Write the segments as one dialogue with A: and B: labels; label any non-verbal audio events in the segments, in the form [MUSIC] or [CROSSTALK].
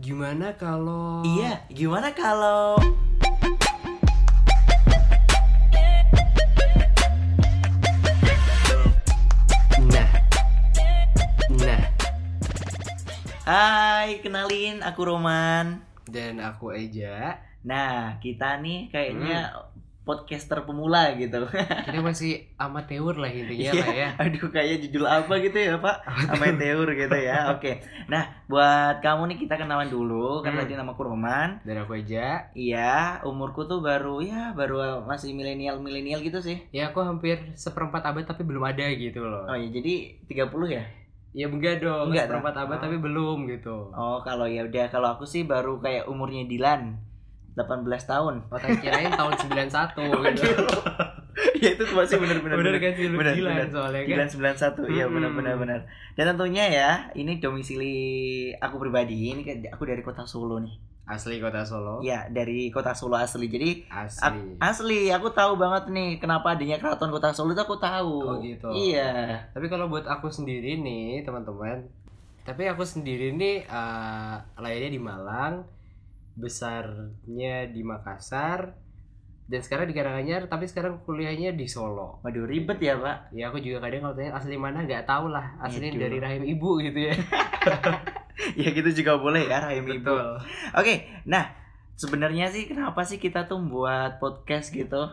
A: Gimana kalau
B: Iya, gimana kalau
A: Nah. Nah,
B: Hai, kenalin aku Roman.
A: dan aku Eja.
B: Nah, kita nih kayaknya
A: Hmm.
B: podcaster pemula gitu. [LAUGHS]
A: Kita masih amatir lah
B: Iya.
A: intinya lah ya.
B: Aduh, kayak judul apa gitu ya, Pak? Amateur gitu ya. Oke. Nah, buat kamu nih kita kenalan dulu. Kan
A: Hmm.
B: tadi nama aku Roman.
A: Dan aku Eja.
B: Iya, umurku tuh baru ya baru masih milenial-milenial gitu sih.
A: Ya aku hampir seperempat abad tapi belum ada gitu loh.
B: Oh ya, jadi 30 ya?
A: Ya enggak dong,
B: Enggak,
A: seperempat
B: dah.
A: abad
B: Ah.
A: tapi belum gitu.
B: Oh, kalau ya udah kalau aku sih baru kayak umurnya Dilan 18 tahun.
A: Oh, tak kirain tahun 91 gitu.
B: [LAUGHS] ya itu masih benar-benar
A: Bener kan sih lu
B: Bener,
A: gila
B: bener.
A: soalnya kan.
B: Dilan 91 iya
A: Mm-mm.
B: benar-benar benar. Dan tentunya ya, ini domisili aku pribadi, ini kan aku dari kota Solo nih.
A: Asli kota Solo.
B: Iya, dari kota Solo asli. Jadi
A: Asli.
B: asli aku tahu banget nih kenapa adanya keraton kota Solo itu aku tahu.
A: Oh, gitu.
B: Iya.
A: Tapi kalau buat aku sendiri nih, teman-teman. Tapi aku sendiri nih eh, lahirnya di Malang, besarnya di Makassar, dan sekarang di Karanganyar, tapi sekarang kuliahnya di Solo.
B: Waduh ribet ya, Pak. [LAUGHS]
A: Ya aku juga kadang kalau tanya asli mana nggak tahu lah, asli
B: Aduh.
A: dari rahim ibu gitu ya.
B: ya gitu juga boleh ya rahim ibu. Oke,
A: Betul.
B: nah sebenarnya sih kenapa sih kita tuh buat podcast gitu?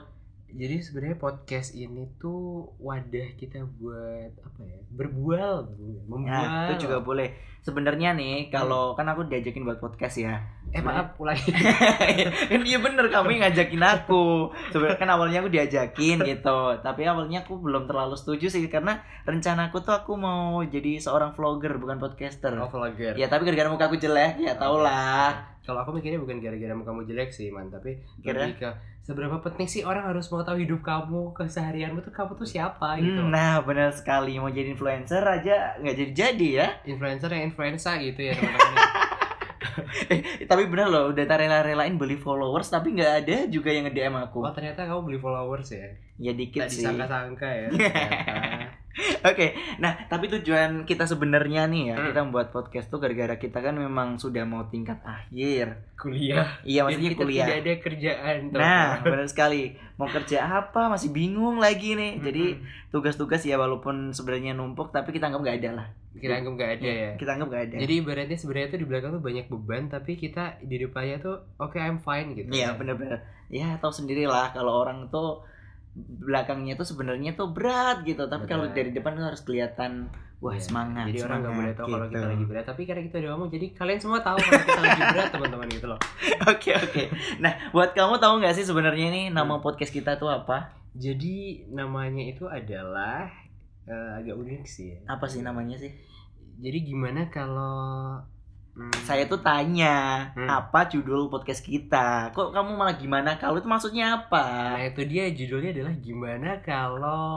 A: Jadi sebenarnya podcast ini tuh wadah kita buat apa ya? Berbual, membual.
B: Nah, itu juga boleh. Sebenarnya
A: Hmm.
B: nih kalau kan aku diajakin buat podcast ya.
A: Eh maaf
B: [LAUGHS]
A: ulangi.
B: kan iya bener kamu yang ngajakin aku sebenarnya kan awalnya aku diajakin gitu tapi awalnya aku belum terlalu setuju sih karena rencanaku tuh aku mau jadi seorang vlogger bukan podcaster
A: Oh, vlogger. Oh, iya.
B: ya tapi gara-gara muka aku jelek ya tau lah
A: kalau aku mikirnya bukan gara-gara kamu jelek sih man tapi
B: Kira-
A: lebih ke seberapa penting sih orang harus mau tahu hidup kamu keseharianmu tuh kamu tuh siapa gitu
B: Hmm, nah bener sekali mau jadi influencer aja nggak jadi jadi ya
A: influencer yang influenza gitu ya
B: [LAUGHS]
A: teman-teman
B: Eh, tapi bener loh udah tak rela-relain beli followers tapi nggak ada juga yang nge DM aku
A: oh ternyata kamu beli followers ya
B: ya
A: tidak
B: dikit sih
A: disangka-sangka ya ternyata.
B: [LAUGHS] Oke, nah tapi tujuan kita sebenarnya nih ya
A: Hmm.
B: kita membuat podcast tuh gara-gara kita kan memang sudah mau tingkat akhir.
A: kuliah
B: Iya
A: Jadi
B: maksudnya
A: kita
B: kuliah.
A: tidak ada kerjaan [LAUGHS]
B: Nah benar sekali mau kerja apa masih bingung lagi nih. Jadi
A: Hmm,
B: tugas-tugas ya walaupun sebenarnya numpuk tapi kita anggap nggak ada lah.
A: kira anggap nggak ada ya
B: Kita anggap nggak ada.
A: jadi ibaratnya sebenarnya tuh di belakang tuh banyak beban tapi kita di depannya tuh oke I'm fine gitu
B: Iya benar-benar. Ya tahu sendirilah kalau orang tuh belakangnya tuh sebenarnya tuh berat gitu tapi kalau
A: Berat.
B: dari depan tuh harus kelihatan wah
A: Iya,
B: semangat.
A: Jadi orang nggak
B: semangat,
A: boleh tahu kalau kita
B: gitu. [LAUGHS]
A: lagi berat, tapi karena kita udah ngomong, jadi kalian semua tahu kalau kita lagi berat teman-teman gitu loh.
B: Oke oke. Nah buat kamu tahu nggak sih sebenarnya ini nama
A: Hmm.
B: podcast kita tuh apa?
A: Jadi namanya itu adalah eh, agak unik sih. Ya.
B: Apa sih namanya sih?
A: Jadi gimana kalau hmm,
B: Saya tuh tanya
A: Hmm.
B: apa judul podcast kita? Kok kamu malah gimana? Kalau itu maksudnya apa?
A: Nah itu dia judulnya adalah gimana kalau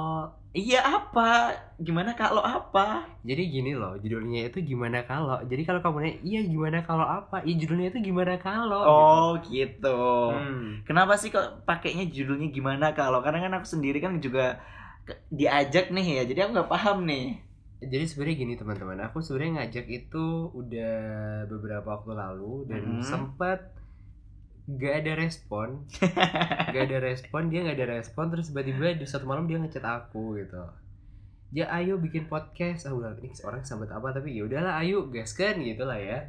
B: Iya apa? Gimana kalau apa?
A: jadi gini loh judulnya itu gimana kalau jadi kalau kamu nanya iya gimana kalau apa iya judulnya itu gimana kalau gitu.
B: Oh gitu.
A: Hmm.
B: Kenapa sih kok pakainya judulnya gimana kalau? Karena kan aku sendiri kan juga ke- diajak nih ya, jadi aku nggak paham nih.
A: jadi sebenarnya gini teman-teman aku sebenarnya ngajak itu udah beberapa waktu lalu dan
B: Mhm.
A: sempat gak ada respon gak ada respon dia gak ada respon terus tiba-tiba di satu malam dia ngechat aku gitu ya ayo bikin podcast aku bilang ini orang sambat apa tapi ya udahlah ayo gaskan gitu lah ya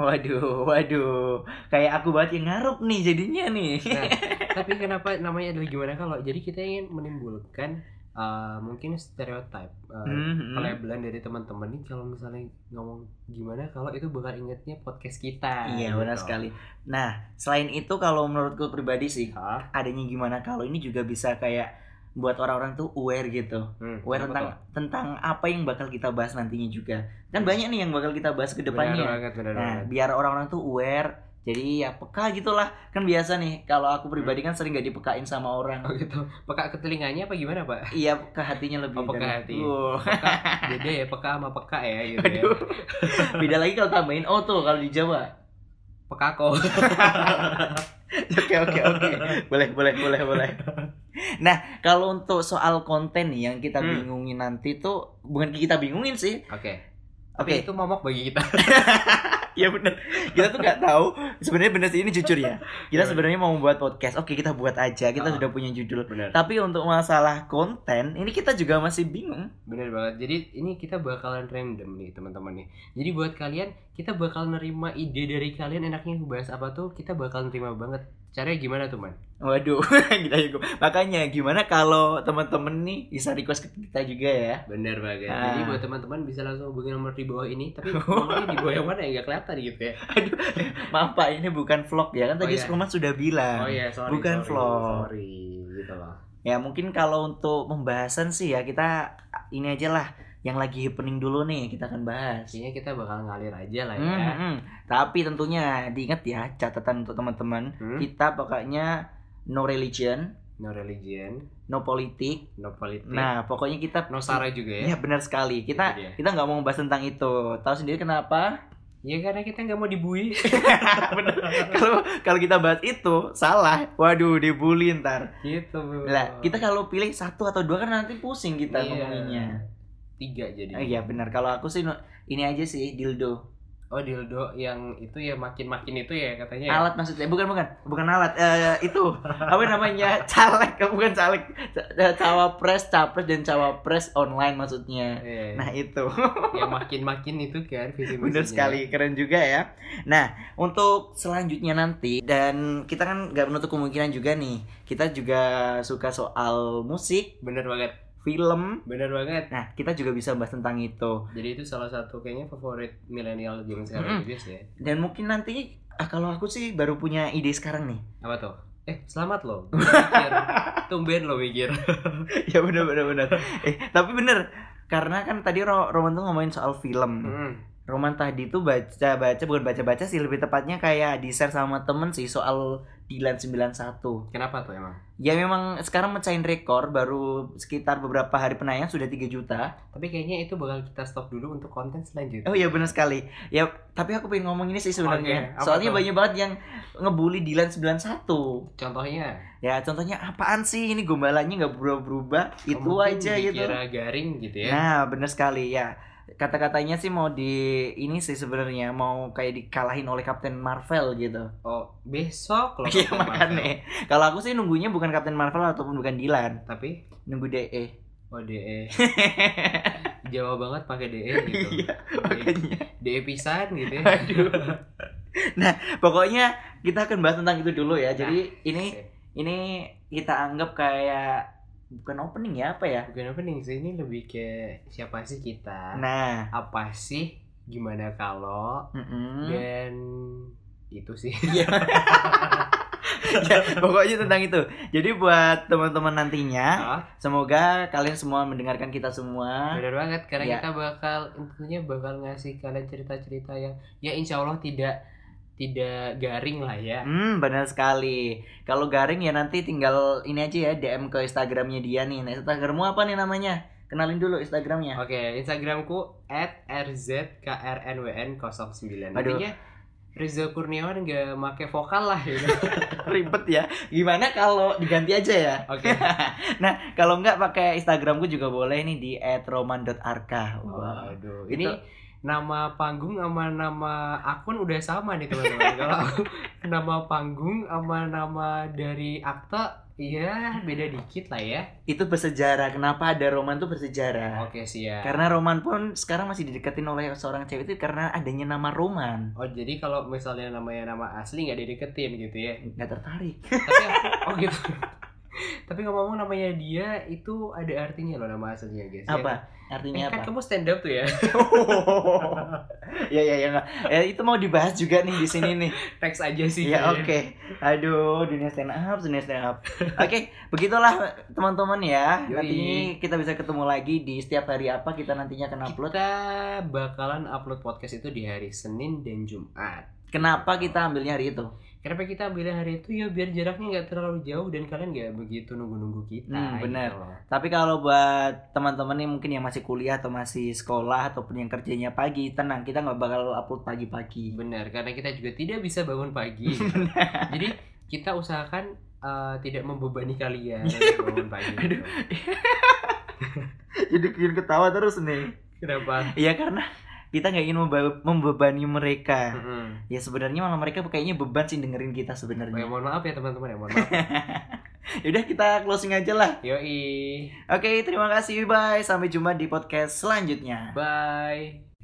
B: Waduh, waduh, kayak aku banget yang ngarup nih jadinya nih.
A: Nah, tapi kenapa namanya adalah gimana kalau jadi kita ingin menimbulkan uh, mungkin stereotip uh,
B: [LAUGHS] Hmm, hmm.
A: pelabelan dari teman-teman nih kalau misalnya ngomong gimana kalau itu bakal ingetnya podcast kita
B: Iya
A: gitu.
B: benar sekali. Nah selain itu kalau menurutku pribadi sih
A: Hah?
B: adanya gimana kalau ini juga bisa kayak buat orang-orang tuh aware gitu,
A: Hmm,
B: aware
A: kenapa
B: tentang
A: tuh?
B: tentang apa yang bakal kita bahas nantinya juga. Kan banyak nih yang bakal kita bahas ke
A: Benar
B: depannya.
A: banget, benar
B: Nah
A: banget.
B: biar orang-orang tuh aware. Jadi ya peka gitulah kan biasa nih kalau aku pribadi
A: Hmm.
B: kan sering gak dipekain sama orang
A: [LAUGHS] [LAUGHS] Oh gitu. Peka ke telinganya apa gimana, [LAUGHS] Pak?
B: iya ke hatinya lebih
A: Oh, peka
B: dari-
A: hati.
B: Wow.
A: Peka beda ya, peka sama peka ya gitu ya.
B: Aduh. [LAUGHS] beda lagi kalau tambahin oh tuh kalau di Jawa
A: [LAUGHS] Peka [LAUGHS] kok.
B: Oke oke oke. Boleh boleh boleh boleh. Nah, kalau untuk soal konten nih yang kita
A: Hmm.
B: bingungin nanti tuh bukan kita bingungin sih.
A: Oke. Tapi
B: Oke.
A: itu momok bagi kita.
B: Iya bener. Kita tuh nggak tahu. Sebenarnya bener sih ini jujur
A: Iya,
B: ya. Kita
A: bener.
B: sebenarnya mau membuat podcast. Oke kita buat aja. Kita
A: Ah.
B: sudah punya judul.
A: bener
B: Tapi untuk masalah konten ini kita juga masih bingung.
A: bener banget jadi ini kita bakalan random nih teman-teman nih jadi buat kalian kita bakal nerima ide dari kalian enaknya bahas apa tuh kita bakal nerima banget caranya gimana tuh man
B: Waduh, [LAUGHS] kita juga. Makanya gimana kalau teman-teman nih bisa request ke kita juga ya?
A: bener banget
B: Ah.
A: jadi buat teman-teman bisa langsung hubungi nomor di bawah ini
B: [LAUGHS]
A: tapi nomornya di bawah yang mana ya nggak kelihatan gitu ya
B: Maaf Pak, ini bukan vlog ya
A: Oh,
B: kan tadi
A: iya.
B: Sukoman sudah
A: oh
B: bilang.
A: iya sorry
B: Ah. Bukan
A: sorry,
B: vlog.
A: sorry gitu loh
B: Ya mungkin kalau untuk pembahasan sih ya kita ini aja lah yang lagi happening dulu nih kita akan bahas.
A: Kayaknya kita bakal ngalir aja lah ya
B: Hmm, hmm. Tapi tentunya diingat ya catatan untuk teman-teman
A: Hmm?
B: kita pokoknya no religion,
A: no religion
B: no politik.
A: no politik
B: Nah pokoknya kita
A: no sara juga ya Iya,
B: Ya benar sekali. Kita
A: Itu dia.
B: kita nggak mau bahas tentang itu. Tahu sendiri
A: [LAUGHS]
B: kenapa?
A: ya karena kita nggak mau dibui
B: [LAUGHS] Bener. Kalau kalau kita bahas itu salah. Waduh dibully ntar.
A: gitu bro.
B: Lah kita kalau pilih satu atau dua kan nanti pusing kita
A: Iya.
B: ngomonginnya.
A: tiga jadi
B: Eh, Iya benar. Kalau aku sih no- ini aja sih dildo.
A: oh dildo yang itu ya makin makin itu ya katanya ya?
B: Alat maksudnya bukan bukan bukan alat. Eh, itu apa
A: [LAUGHS]
B: namanya caleg Eh, bukan caleg Ca- eh, cawapres capres dan cawapres online
A: Iya,
B: maksudnya.
A: iya.
B: Nah itu
A: yang makin makin itu kan visi misinya.
B: benar sekali keren juga ya. Nah untuk selanjutnya nanti dan kita kan nggak menutup kemungkinan juga nih kita juga suka soal musik,
A: bener banget
B: film.
A: bener banget
B: Nah kita juga bisa bahas tentang itu.
A: jadi itu salah satu kayaknya favorit milenial zaman sekarang
B: Mm-mm.
A: juga sih ya
B: Dan mungkin nanti ah, kalau aku sih baru punya ide sekarang nih.
A: apa tuh eh selamat lo
B: [LAUGHS]
A: mikir tumben lo mikir
B: ya benar benar benar eh tapi bener karena kan tadi Ro- Roman tuh ngomongin soal film
A: Mm.
B: Roman tadi tuh baca baca bukan baca baca sih lebih tepatnya kayak di share sama temen sih soal Dilan 91
A: kenapa tuh emang
B: ya memang sekarang mecahin rekor baru sekitar beberapa hari penayang sudah 3 juta
A: tapi kayaknya itu bakal kita stop dulu untuk konten selanjutnya
B: oh iya benar sekali ya tapi aku pengen ngomong ini sih sebenarnya
A: Oke, Oh, iya. apa
B: soalnya
A: tuh?
B: banyak banget yang ngebully Dilan 91
A: contohnya
B: ya contohnya apaan sih ini gombalannya nggak berubah-berubah itu
A: Oh, mungkin
B: aja gitu
A: dikira garing gitu ya
B: Nah, bener sekali ya. Kata-katanya sih mau di ini sih sebenarnya mau kayak dikalahin oleh Kapten Marvel gitu.
A: oh besok lo
B: [LAUGHS] Iya
A: Captain Marvel.
B: makanya. Kalau aku sih nunggunya bukan Kapten Marvel ataupun bukan Dilan,
A: tapi
B: nunggu E, DE.
A: oh
B: [LAUGHS]
A: DE Jawa banget pakai DE [LAUGHS] gitu
B: Iya, Makanya.
A: DE pisan gitu ya [LAUGHS]
B: Aduh. Nah, pokoknya kita akan bahas tentang itu dulu ya. Jadi ini
A: oke.
B: ini kita anggap kayak bukan opening ya apa ya?
A: bukan opening sih ini lebih ke siapa sih kita
B: Nah,
A: apa sih gimana kalau
B: mm-mm.
A: dan itu sih
B: [LAUGHS] Ya, pokoknya tentang itu. Jadi buat teman-teman nantinya,
A: Ah, [LAUGHS]
B: semoga kalian semua mendengarkan kita semua.
A: bener banget karena
B: Iya.
A: kita bakal intinya bakal ngasih kalian cerita-cerita yang ya insya Allah tidak tidak garing lah ya
B: Hmm, benar sekali. Kalau garing ya nanti tinggal ini aja ya DM ke Instagramnya dia nih. Nah, Instagrammu apa nih namanya? Kenalin dulu Instagramnya.
A: Oke, Instagramku @rzkrnwn09.
B: Aduh.
A: Intinya Reza Kurniawan nggak make vokal lah
B: [LAUGHS]
A: ya.
B: [LAUGHS] Ribet ya. Gimana kalau diganti aja ya?
A: Oke.
B: [LAUGHS] Nah, kalau nggak pakai Instagramku juga boleh nih di @roman.arka.
A: Oh.
B: Wah.
A: Waduh,
B: Itu-
A: ini nama panggung sama nama akun udah sama nih
B: [LAUGHS]
A: teman-teman. Kalau aku, nama panggung sama nama dari akta Iya, beda dikit lah ya.
B: Itu bersejarah. Kenapa ada Roman tuh bersejarah?
A: Oke, siap.
B: Karena Roman pun sekarang masih dideketin oleh seorang cewek itu karena adanya nama Roman.
A: Oh, jadi kalau misalnya namanya nama asli nggak dideketin gitu ya.
B: Nggak tertarik.
A: Tapi [LAUGHS] aku- oh gitu. Tapi ngomong-ngomong namanya dia itu ada artinya loh nama aslinya, guys. Ya
B: Apa?
A: Eh,
B: Artinya
A: kan
B: apa?
A: kamu stand up tuh ya [LAUGHS]
B: [LAUGHS] ya ya ya nggak. Ya, itu mau dibahas juga nih di sini
A: [LAUGHS]
B: nih.
A: teks aja sih
B: Ya oke.
A: kayaknya.
B: Aduh, dunia stand up, dunia stand up. Oke, begitulah teman-teman ya.
A: Yoi.
B: Nanti kita bisa ketemu lagi di setiap hari apa kita nantinya akan upload.
A: kita bakalan upload podcast itu di hari Senin dan Jumat
B: Kenapa kita ambilnya hari itu?
A: kenapa kita ambil hari itu ya biar jaraknya nggak terlalu jauh dan kalian nggak begitu nunggu-nunggu kita
B: Hmm, benar.
A: gitu loh.
B: Tapi kalau buat teman-teman nih mungkin yang masih kuliah atau masih sekolah ataupun yang kerjanya pagi, tenang, kita nggak bakal upload [LAUGHS] pagi-pagi.
A: benar karena kita juga tidak bisa bangun pagi
B: [LAUGHS]
A: jadi kita usahakan eh, tidak membebani kalian
B: [LAUGHS]
A: untuk bangun pagi
B: Aduh. Jadi bikin ketawa terus nih.
A: kenapa
B: Iya karena kita nggak ingin memba- membebani mereka
A: Mm-mm.
B: ya sebenarnya malah mereka kayaknya beban sih dengerin
A: Oh,
B: kita
A: ya,
B: sebenarnya
A: mohon maaf ya teman-teman ya mohon maaf
B: [LAUGHS] yaudah kita closing aja lah
A: yoi
B: oke terima kasih bye sampai jumpa di podcast selanjutnya
A: bye